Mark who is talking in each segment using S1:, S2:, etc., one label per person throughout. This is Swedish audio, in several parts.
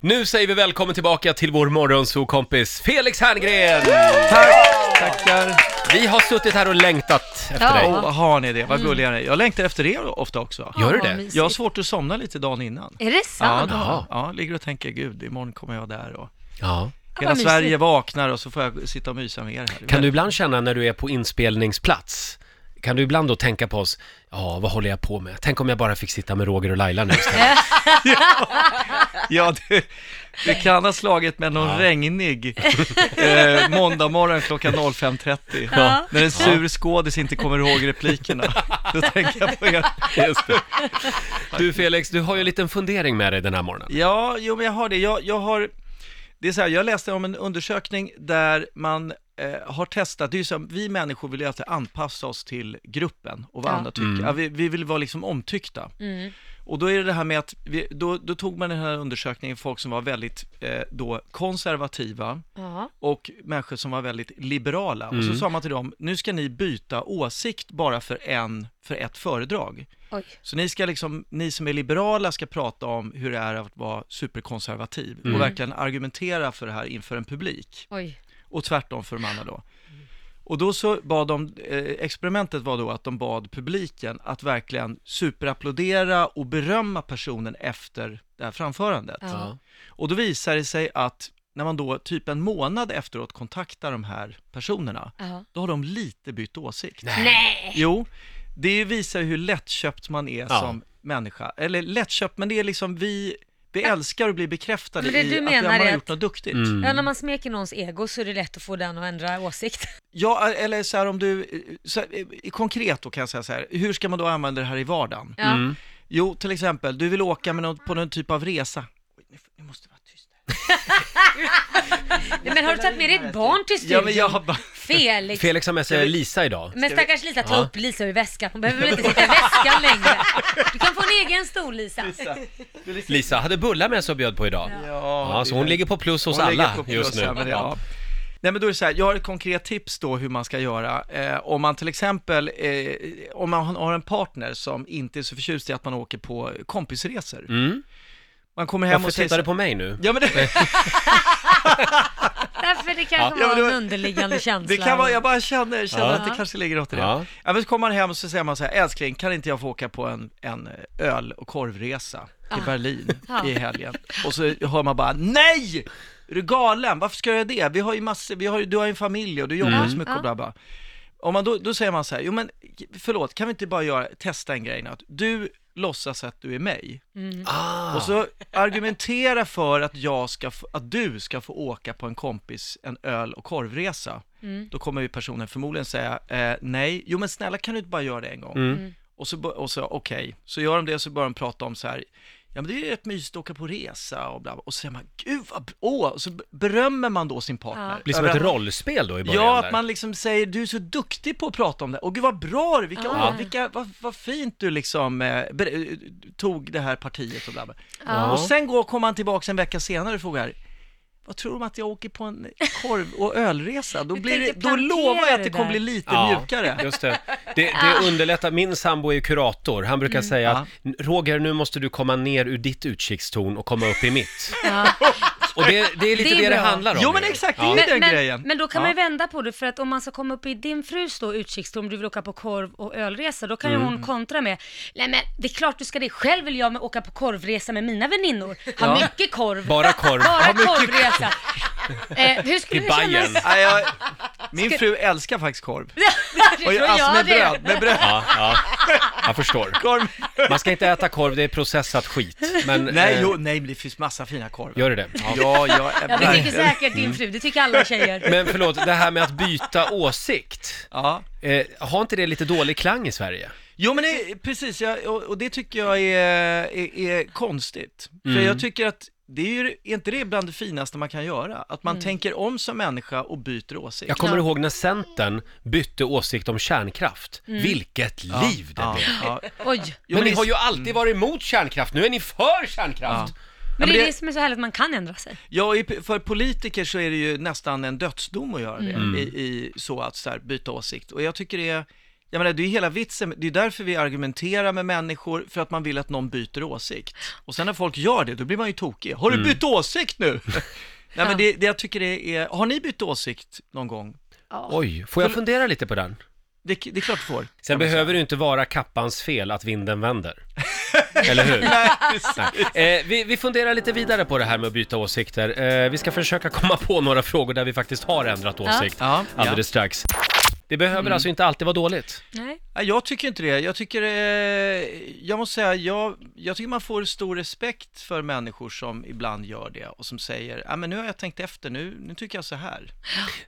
S1: Nu säger vi välkommen tillbaka till vår morgonsokompis Felix Herngren!
S2: Tack, tackar.
S1: Vi har suttit här och längtat efter
S3: Ja.
S1: dig.
S2: Åh, vad har ni det? Vad gulliga ni är. Jag längtar efter er ofta också.
S1: Gör du
S3: vad
S1: det?
S3: mysigt.
S2: Jag har svårt att somna lite dagen innan.
S3: Är det
S2: Ja,
S3: sant?
S2: då,
S1: Jaha.
S2: ja, ligger och tänker, gud, imorgon kommer jag där och
S1: Ja.
S3: vad
S2: hela
S3: mysigt.
S2: Sverige vaknar och så får jag sitta och mysa med er här.
S1: Kan du ibland känna när du är på inspelningsplats, kan du ibland då tänka på oss, ja vad håller jag på med? Tänk om jag bara fick sitta med Roger och Laila nu istället.
S2: Ja, det, det kan ha slagit med någon regnig eh, måndag morgon klockan 05.30.
S1: Ja.
S2: När en sur skådis inte kommer ihåg replikerna. Då tänker jag på er.
S1: Just det. Du Felix, du har ju en liten fundering med dig den här morgonen.
S2: Ja, jo men jag har det. Jag, jag har, det är så här, jag läste om en undersökning där man eh, har testat, det är ju så här, vi människor vill ju alltid anpassa oss till gruppen och vad
S3: Ja.
S2: andra tycker. Ja, vi, vi vill vara liksom omtyckta.
S3: Mm.
S2: Och då är det det här med att, vi, då, då tog man den här undersökningen folk som var väldigt eh, då konservativa
S3: Ja.
S2: och människor som var väldigt liberala. Och så sa man till dem, nu ska ni byta åsikt bara för en, för ett föredrag.
S3: Oj.
S2: Så ni, ska liksom, ni som är liberala ska prata om hur det är att vara superkonservativ och verkligen argumentera för det här inför en publik
S3: Oj.
S2: och tvärtom för de andra då. Och då så bad de, eh, experimentet var då att de bad publiken att verkligen superapplådera och berömma personen efter det här framförandet.
S3: Ja.
S1: Ja.
S2: Och då visar det sig att när man då typ en månad efteråt kontaktar de här personerna,
S1: Mm.
S3: Ja.
S2: då har de lite bytt åsikt.
S3: Nej.
S2: Jo, det visar ju hur lättköpt man är
S1: Ja.
S2: som människa. Eller lättköpt, men det är liksom vi, vi älskar att bli bekräftade
S3: Men det du
S2: i
S3: menar
S2: att man
S3: är
S2: har
S3: att-
S2: gjort något duktigt.
S1: Mm.
S3: Ja, när man smeker någons ego så är det lätt att få den att ändra åsikt.
S2: Ja, eller så här om du, eh, så här, eh, konkret då kan jag säga så här, hur ska man då använda det här i vardagen?
S3: Ja.
S2: Jo, till exempel, du vill åka med någon, på någon typ av resa. Oj, nu, nu måste det vara tyst. här.
S3: Men har du tagit med dig ett barn till studion?
S2: Ja, men jag har bara...
S3: Felix.
S1: Felix har med sig Lisa idag.
S3: Men
S2: Ska vi-
S3: stackars Lisa, ta
S1: Ja.
S3: upp Lisa ur väskan. Hon behöver väl inte sitta i väskan längre. Du kan få en egen stol Lisa.
S2: Lisa, du liksom-
S1: Lisa hade bullar med sig och bjöd på idag.
S2: Ja,
S1: Ja, så hon
S2: det-
S1: ligger på plus hos
S2: Hon ligger
S1: alla
S2: på plus
S1: just nu.
S2: här med det, ja. Nej men då är det så här, jag har ett konkret tips då hur man ska göra. Eh, om man till exempel, eh, om man har en partner som inte är så förtjust i att man åker på kompisresor.
S1: Mm.
S2: Man kommer hem
S1: Varför
S2: och säger
S1: tittar du
S2: så-
S1: på mig nu?
S2: Ja men det,
S3: Därför det kanske
S2: Ja, men
S3: var
S2: det
S3: en
S2: var-
S3: underliggande känsla.
S2: det kan vara, jag bara känner, känner
S1: Ja.
S2: att det kanske ligger något i det.
S1: Ja.
S2: Ja. men så kommer man hem och så säger man så här, älskling kan inte jag få åka på en, en eh, öl och korvresa till
S1: Ah.
S2: Berlin
S3: Ja.
S2: i helgen? Och så hör man bara, nej! Är du galen? Varför ska jag göra det? Vi har ju massor, vi har, ju- du har ju en familj och du jobbar
S1: Mm.
S2: ju så mycket och bla bla. Om man då, då säger man så här, jo men förlåt, kan vi inte bara göra, testa en grej nu? Att du låtsas att du är mig
S1: Ah.
S2: och så argumentera för att, jag ska f- att du ska få åka på en kompis, en öl och korvresa.
S1: Mm.
S2: Då kommer ju personen förmodligen säga eh, nej, jo men snälla kan du inte bara göra det en gång? Mm. Och så, bo- och så okej, så gör de det så börjar de prata om så här, ja men det är ju rätt mysigt att åka på resa och bla bla. Och så säger man, gud vad, b- åh, och så b- berömmer man då sin partner.
S3: Ja.
S1: Blir som
S2: Över
S1: ett
S2: att-
S1: rollspel då i början
S2: Ja,
S1: där.
S2: att man liksom säger du är så duktig på att prata om det. Och gud vad bra du, vilka,
S3: Ja.
S2: åh, vilka, vad, vad fint du liksom eh, ber, eh, tog det här partiet och bla bla.
S3: Ja.
S2: Och sen går, kommer han tillbaka en vecka senare och frågar vad tror du om att jag åker på en korv och ölresa? Då,
S3: Du
S2: blir det,
S3: tänkte
S2: då
S3: plantera
S2: lovar jag att
S3: det
S2: det kommer
S3: där.
S2: bli lite
S1: Ja,
S2: mjukare.
S1: Just det. Det,
S3: Ah.
S1: det underlättar. Min sambo är ju kurator. Han brukar
S3: Mm.
S1: säga att Roger, nu måste du komma ner ur ditt utkikstorn och komma upp i mitt. Och det, det är lite
S3: Det
S1: det
S3: är
S1: det,
S3: bra.
S1: handlar om.
S2: Jo men
S1: ju.
S2: exakt, det är
S1: Ja.
S2: ju den
S3: men,
S2: grejen.
S3: men då
S2: Ja.
S3: kan man ju vända på det för att om man ska komma upp i din frus då utkikstorn, du vill åka på korv och ölresa, då kan
S2: Mm.
S3: ju hon kontra med, nej men det är klart du ska det, själv vill jag med åka på korvresa med mina väninnor,
S2: Ja.
S3: ha mycket korv,
S1: Bara korv.
S3: bara
S1: Ha mycket
S3: korvresa. eh, hur
S1: I
S3: skulle det
S1: Bayern.
S3: kännas?
S2: Nej, jag, min fru älskar faktiskt korv.
S3: Det
S2: Och
S3: tror
S2: jag, alltså
S3: jag
S2: med
S3: det.
S2: bröd, med bröd.
S1: Ja, ja. Jag förstår.
S2: Korv.
S1: Man ska inte äta korv, det är processat skit. Men,
S2: Nej,
S1: eh,
S2: jo, nej, men det finns massa fina korvar.
S1: Gör det det? Ja.
S2: Ja, ja,
S3: Ja, det tycker
S2: verkligen.
S3: säkert din fru, det tycker alla tjejer.
S1: Men förlåt, det här med att byta åsikt.
S2: Ja.
S1: Eh, har inte det lite dålig klang i Sverige?
S2: Jo men det, precis, jag, och, och det tycker jag är, är, är konstigt. För jag tycker att det är, ju, är inte det bland det finaste man kan göra? Att man tänker om som människa och byter åsikt.
S1: Mm. Jag kommer
S3: Ja.
S1: ihåg när Centern bytte åsikt om kärnkraft.
S3: Mm.
S1: Vilket liv det
S2: Ja,
S1: blev!
S2: ja. Jo,
S3: Oj.
S1: Men, mm. ni
S2: det-
S1: har ju alltid varit emot kärnkraft, nu är ni för kärnkraft!
S2: men
S3: Men det är
S2: det-
S3: det som är så härligt, man kan ändra sig.
S2: Ja, i- för politiker så är det ju nästan en dödsdom att göra det, i, i så att så här, byta åsikt. Och jag tycker det är, Jag menar, det är ju hela vitsen, det är därför vi argumenterar med människor, för att man vill att någon byter åsikt. Och sen när folk gör det, då blir man ju tokig. Har du bytt åsikt nu? Nej men det, det jag tycker det är, har ni bytt åsikt någon gång?
S1: Oj, får jag fundera lite på den?
S2: Det, det är klart du får.
S1: Sen behöver det ju inte vara kappans fel att vinden vänder. Eller hur? Nej. Eh, vi, vi funderar lite vidare på det här med att byta åsikter. Eh, vi ska försöka komma på några frågor där vi faktiskt har ändrat åsikt
S2: Ja.
S1: alldeles strax. Det behöver alltså inte alltid vara dåligt.
S3: Nej.
S2: Nej, jag tycker inte det. Jag tycker, eh, jag måste säga, jag, jag tycker man får stor respekt för människor som ibland gör det och som säger, ja men nu har jag tänkt efter, nu, nu tycker jag så här.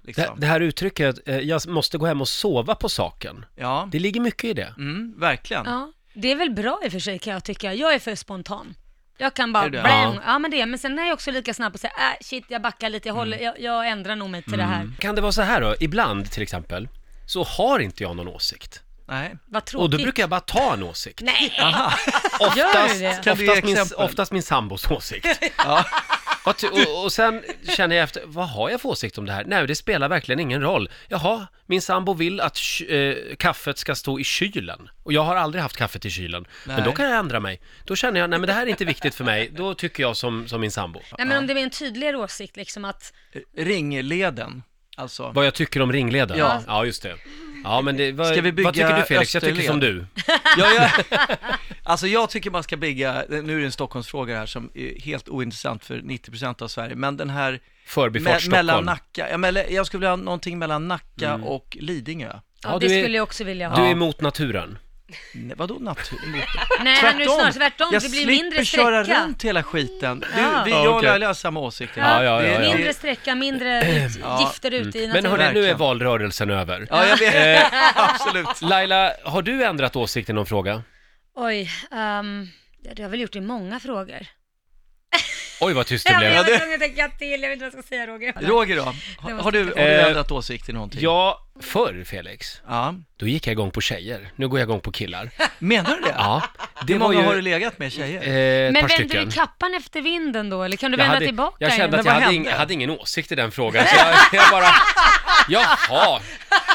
S1: Det,
S2: Liksom.
S1: det här uttrycket, eh, jag måste gå hem och sova på saken.
S2: Ja,
S1: Det ligger mycket i det.
S2: mm, verkligen.
S3: Ja, det är väl bra i och för sig kan jag tycka. Jag är för spontan. Jag kan bara
S2: Är du det?
S3: bläng.
S1: Ja.
S3: Ja. men det, är- men sen är jag också lika snabb och säger, äh, shit jag backar lite, jag, håller,
S1: Mm.
S3: jag, jag ändrar nog mig till det här.
S1: Kan det vara så här då, ibland till exempel, så har inte jag någon åsikt.
S2: Nej.
S3: Vad
S1: Och
S3: tråkigt.
S1: då brukar jag bara ta en åsikt.
S3: Nej! Gör
S1: Oftast,
S3: du det?
S2: Kan du ge
S1: oftast, min,
S2: exempel?
S1: oftast min sambos åsikt.
S2: Ja.
S1: Vad ty- Och, och sen känner jag efter, vad har jag för åsikt om det här? Nej, det spelar verkligen ingen roll. Jaha, min sambo vill att ky- eh, kaffet ska stå i kylen. Och jag har aldrig haft kaffet i kylen. Men
S2: Nej.
S1: då kan jag ändra mig. Då känner jag, nej men det här är inte viktigt för mig. Då tycker jag som, som min sambo.
S3: Nej men om det är en tydligare åsikt liksom att,
S2: Ringleden, alltså.
S1: Vad jag tycker om ringleden?
S2: Ja.
S1: ja just det. Ja, men det, vad,
S2: Ska vi bygga
S1: vad tycker du Felix? Jag tycker
S2: österled?
S1: som du.
S2: Ja, jag, alltså jag tycker man ska bygga, nu är det en Stockholmsfråga här som är helt ointressant för 90% av Sverige, men den här
S1: Förbifart
S2: me-
S1: Stockholm. Mm.
S2: mellan Nacka, ja, men jag skulle vilja ha någonting mellan Nacka och Lidingö.
S3: ja,
S1: Ja,
S3: det
S1: du är-
S3: skulle jag också vilja
S1: Du
S3: ha.
S1: är emot naturen.
S2: Nej, vadå natur?
S3: Nej, men nu är det snarare tvärtom,
S2: Jag
S3: det blir
S2: slipper
S3: mindre
S2: köra
S3: sträcka.
S2: runt hela skiten. Du,
S3: Ja.
S2: vi,
S1: Ja,
S2: jag och
S1: okej.
S2: Laila har samma åsikter.
S1: Ja, ja, ja, ja.
S3: Mindre sträcka, mindre ut, gifter ute i
S1: Men
S3: naturen.
S1: hörni, nu är
S2: Verkligen.
S1: valrörelsen över.
S2: Ja, jag vet.
S3: Eh.
S2: Absolut.
S1: Laila, har du ändrat åsikt i någon fråga?
S3: Oj, um, det har jag väl gjort i många frågor.
S1: Oj, vad tyst det
S3: Jag, jag
S1: blev.
S3: var tvungen att tänka till, jag vet inte vad jag ska säga Roger.
S2: Roger då? Har, har du, har du
S1: Eh,
S2: ändrat åsikt i någonting?
S1: Ja, förr Felix,
S2: ja.
S1: då gick jag igång på tjejer. Nu går jag igång på killar.
S2: Menar du det?
S1: Ja, det
S2: Hur
S1: var
S2: många
S1: ju...
S2: har du legat med tjejer?
S1: Eh, ett
S3: Men
S1: par
S3: vänder
S1: stycken.
S3: du kappan efter vinden då, eller kan du
S1: Jag,
S3: vända
S1: hade,
S3: tillbaka?
S1: jag kände
S2: Men
S1: att jag
S2: vad
S1: hade, ing,
S2: hände?
S1: jag hade ingen åsikt i den frågan, så jag, jag bara... Jaha,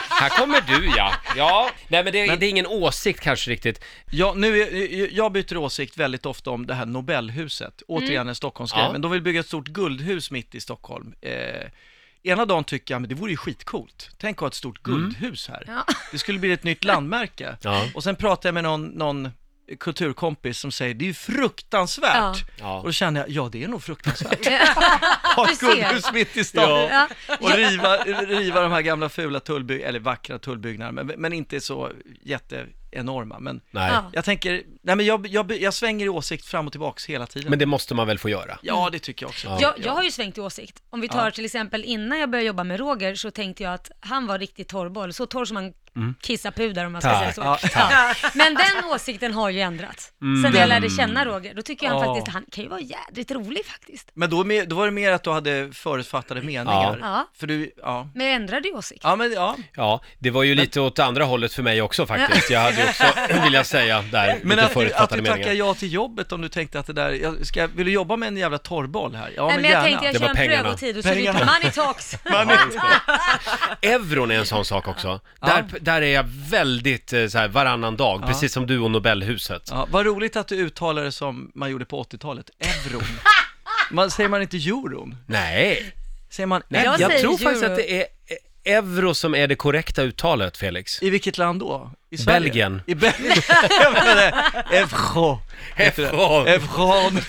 S1: här kommer du ja. Ja, nej men det, det är ingen åsikt kanske riktigt.
S2: Ja, nu är, jag byter åsikt väldigt ofta om det här
S3: Mm.
S2: Nobelhuset, återigen en Stockholmsgrej,
S1: Ja.
S2: men de vill bygga ett stort guldhus mitt i Stockholm. Eh, ena dagen tycker jag, men det vore ju skitcoolt, tänk att ha ett stort
S1: Mm.
S2: guldhus här.
S3: Ja.
S2: Det skulle bli ett nytt landmärke.
S1: Ja.
S2: Och sen pratar jag med någon, någon kulturkompis som säger, det är ju
S3: Ja.
S2: fruktansvärt.
S1: Ja.
S2: Och då känner jag, ja det är nog fruktansvärt.
S3: Du
S2: Ha ett
S3: ser.
S2: guldhus mitt i stan.
S3: Ja.
S2: Och riva, riva de här gamla fula tullbyggnaderna, eller vackra tullbyggnaderna, men, men inte så jätteenorma. Men
S1: Nej,
S3: Ja.
S2: jag tänker, nej men jag, jag, jag svänger i åsikt fram och tillbaks hela tiden.
S1: men det måste man väl få göra?
S2: Ja, det tycker jag också.
S3: Jag, jag har ju svängt i åsikt. Om vi tar till exempel innan jag började jobba med Roger så tänkte jag att han var riktigt torrboll, så torr som man kissar pudar om man ska
S1: Mm. Tack, Mm.
S3: säga så.
S2: ja,
S3: Ja. Men den åsikten har ju ändrats. Sen när jag lärde känna Roger, då tycker jag han
S2: Ja.
S3: faktiskt, han kan ju vara jädrigt rolig faktiskt.
S2: Men då, mer- då var det mer att du hade förutfattade meningar.
S3: Ja.
S2: För du, ja.
S3: Men jag ändrade ju åsikt.
S2: Ja, men ja.
S1: Ja, det var ju lite åt andra hållet för mig också faktiskt. Jag hade ju också, vill jag säga, där,
S2: Men
S1: lite
S2: att du, att
S1: förutfattade
S2: du tackar
S1: meningar.
S2: ja till jobbet om du tänkte att det där, jag ska, vill du jobba med en jävla torrboll här? Ja,
S3: Nej,
S2: men,
S3: men jag
S2: gärna.
S3: tänkte jag
S1: Det var
S3: kör en
S1: pengarna.
S3: prövotid och så rycker
S2: Pengarna.
S3: money talks.
S1: Euron är en sån sak också. Där, där är jag väldigt eh, så här, varannan dag, precis som du och Nobelhuset.
S2: Ja, vad roligt att du uttalar det som man gjorde på 80-talet, euron. Man, säger man inte euron?
S1: Nej,
S2: Säger man
S1: Nej
S3: Jag
S1: jag,
S3: säger
S1: tror
S3: euro.
S1: faktiskt att det är eh, euro som är det korrekta uttalet, Felix.
S2: I vilket land då? I Sverige?
S1: Belgien.
S2: I Belgien? Jag menar, Euron. heter det.
S1: Euron.
S2: Euron.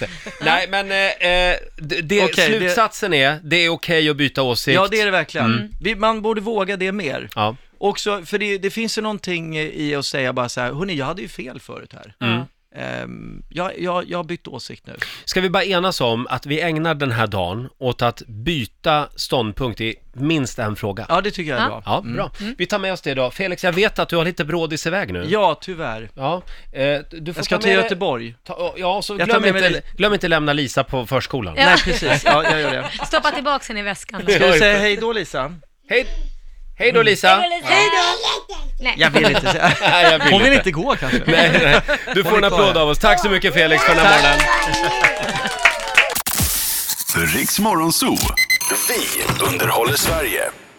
S1: Nej, men eh, eh, det, det,
S2: Okej, det-
S1: slutsatsen är, det är okej att byta åsikt.
S2: Ja, det är det verkligen.
S1: Mm.
S2: Vi, man borde våga det mer.
S1: Ja.
S2: Också, för det, det finns ju någonting i att säga bara så här, hörni, jag hade ju fel förut här.
S1: Mm.
S2: Ehm, jag, jag, jag har bytt åsikt nu.
S1: Ska vi bara enas om att vi ägnar den här dagen åt att byta ståndpunkt i minst en fråga?
S2: Ja, det tycker jag är bra.
S1: Ja, bra. Vi tar med oss det idag. Felix, jag vet att du har lite brådis iväg nu.
S2: Ja, tyvärr.
S1: Ja, eh, du får
S2: Jag ska
S1: ta
S2: till
S1: med dig-
S2: Göteborg.
S1: Ta, ja, och så
S2: Jag tar
S1: glöm
S2: med mig
S1: inte, glöm inte lämna Lisa på förskolan.
S3: Ja.
S2: Nej, precis. Ja, jag gör det.
S3: Stoppa tillbaka henne i väskan. då.
S2: Ska du säga hej då, Lisa?
S1: Hej, hej då Lisa!
S3: Hej då! Nej.
S2: Jag vill inte säga.
S1: Nej, jag vill
S2: Hon vill
S1: inte.
S2: inte gå kanske.
S1: Nej, nej. Du får
S2: är
S1: en
S2: kvar
S1: applåd
S2: här.
S1: av oss. Tack så mycket Felix för den här morgonen.
S4: Riks Morgonzoo. Vi underhåller Sverige.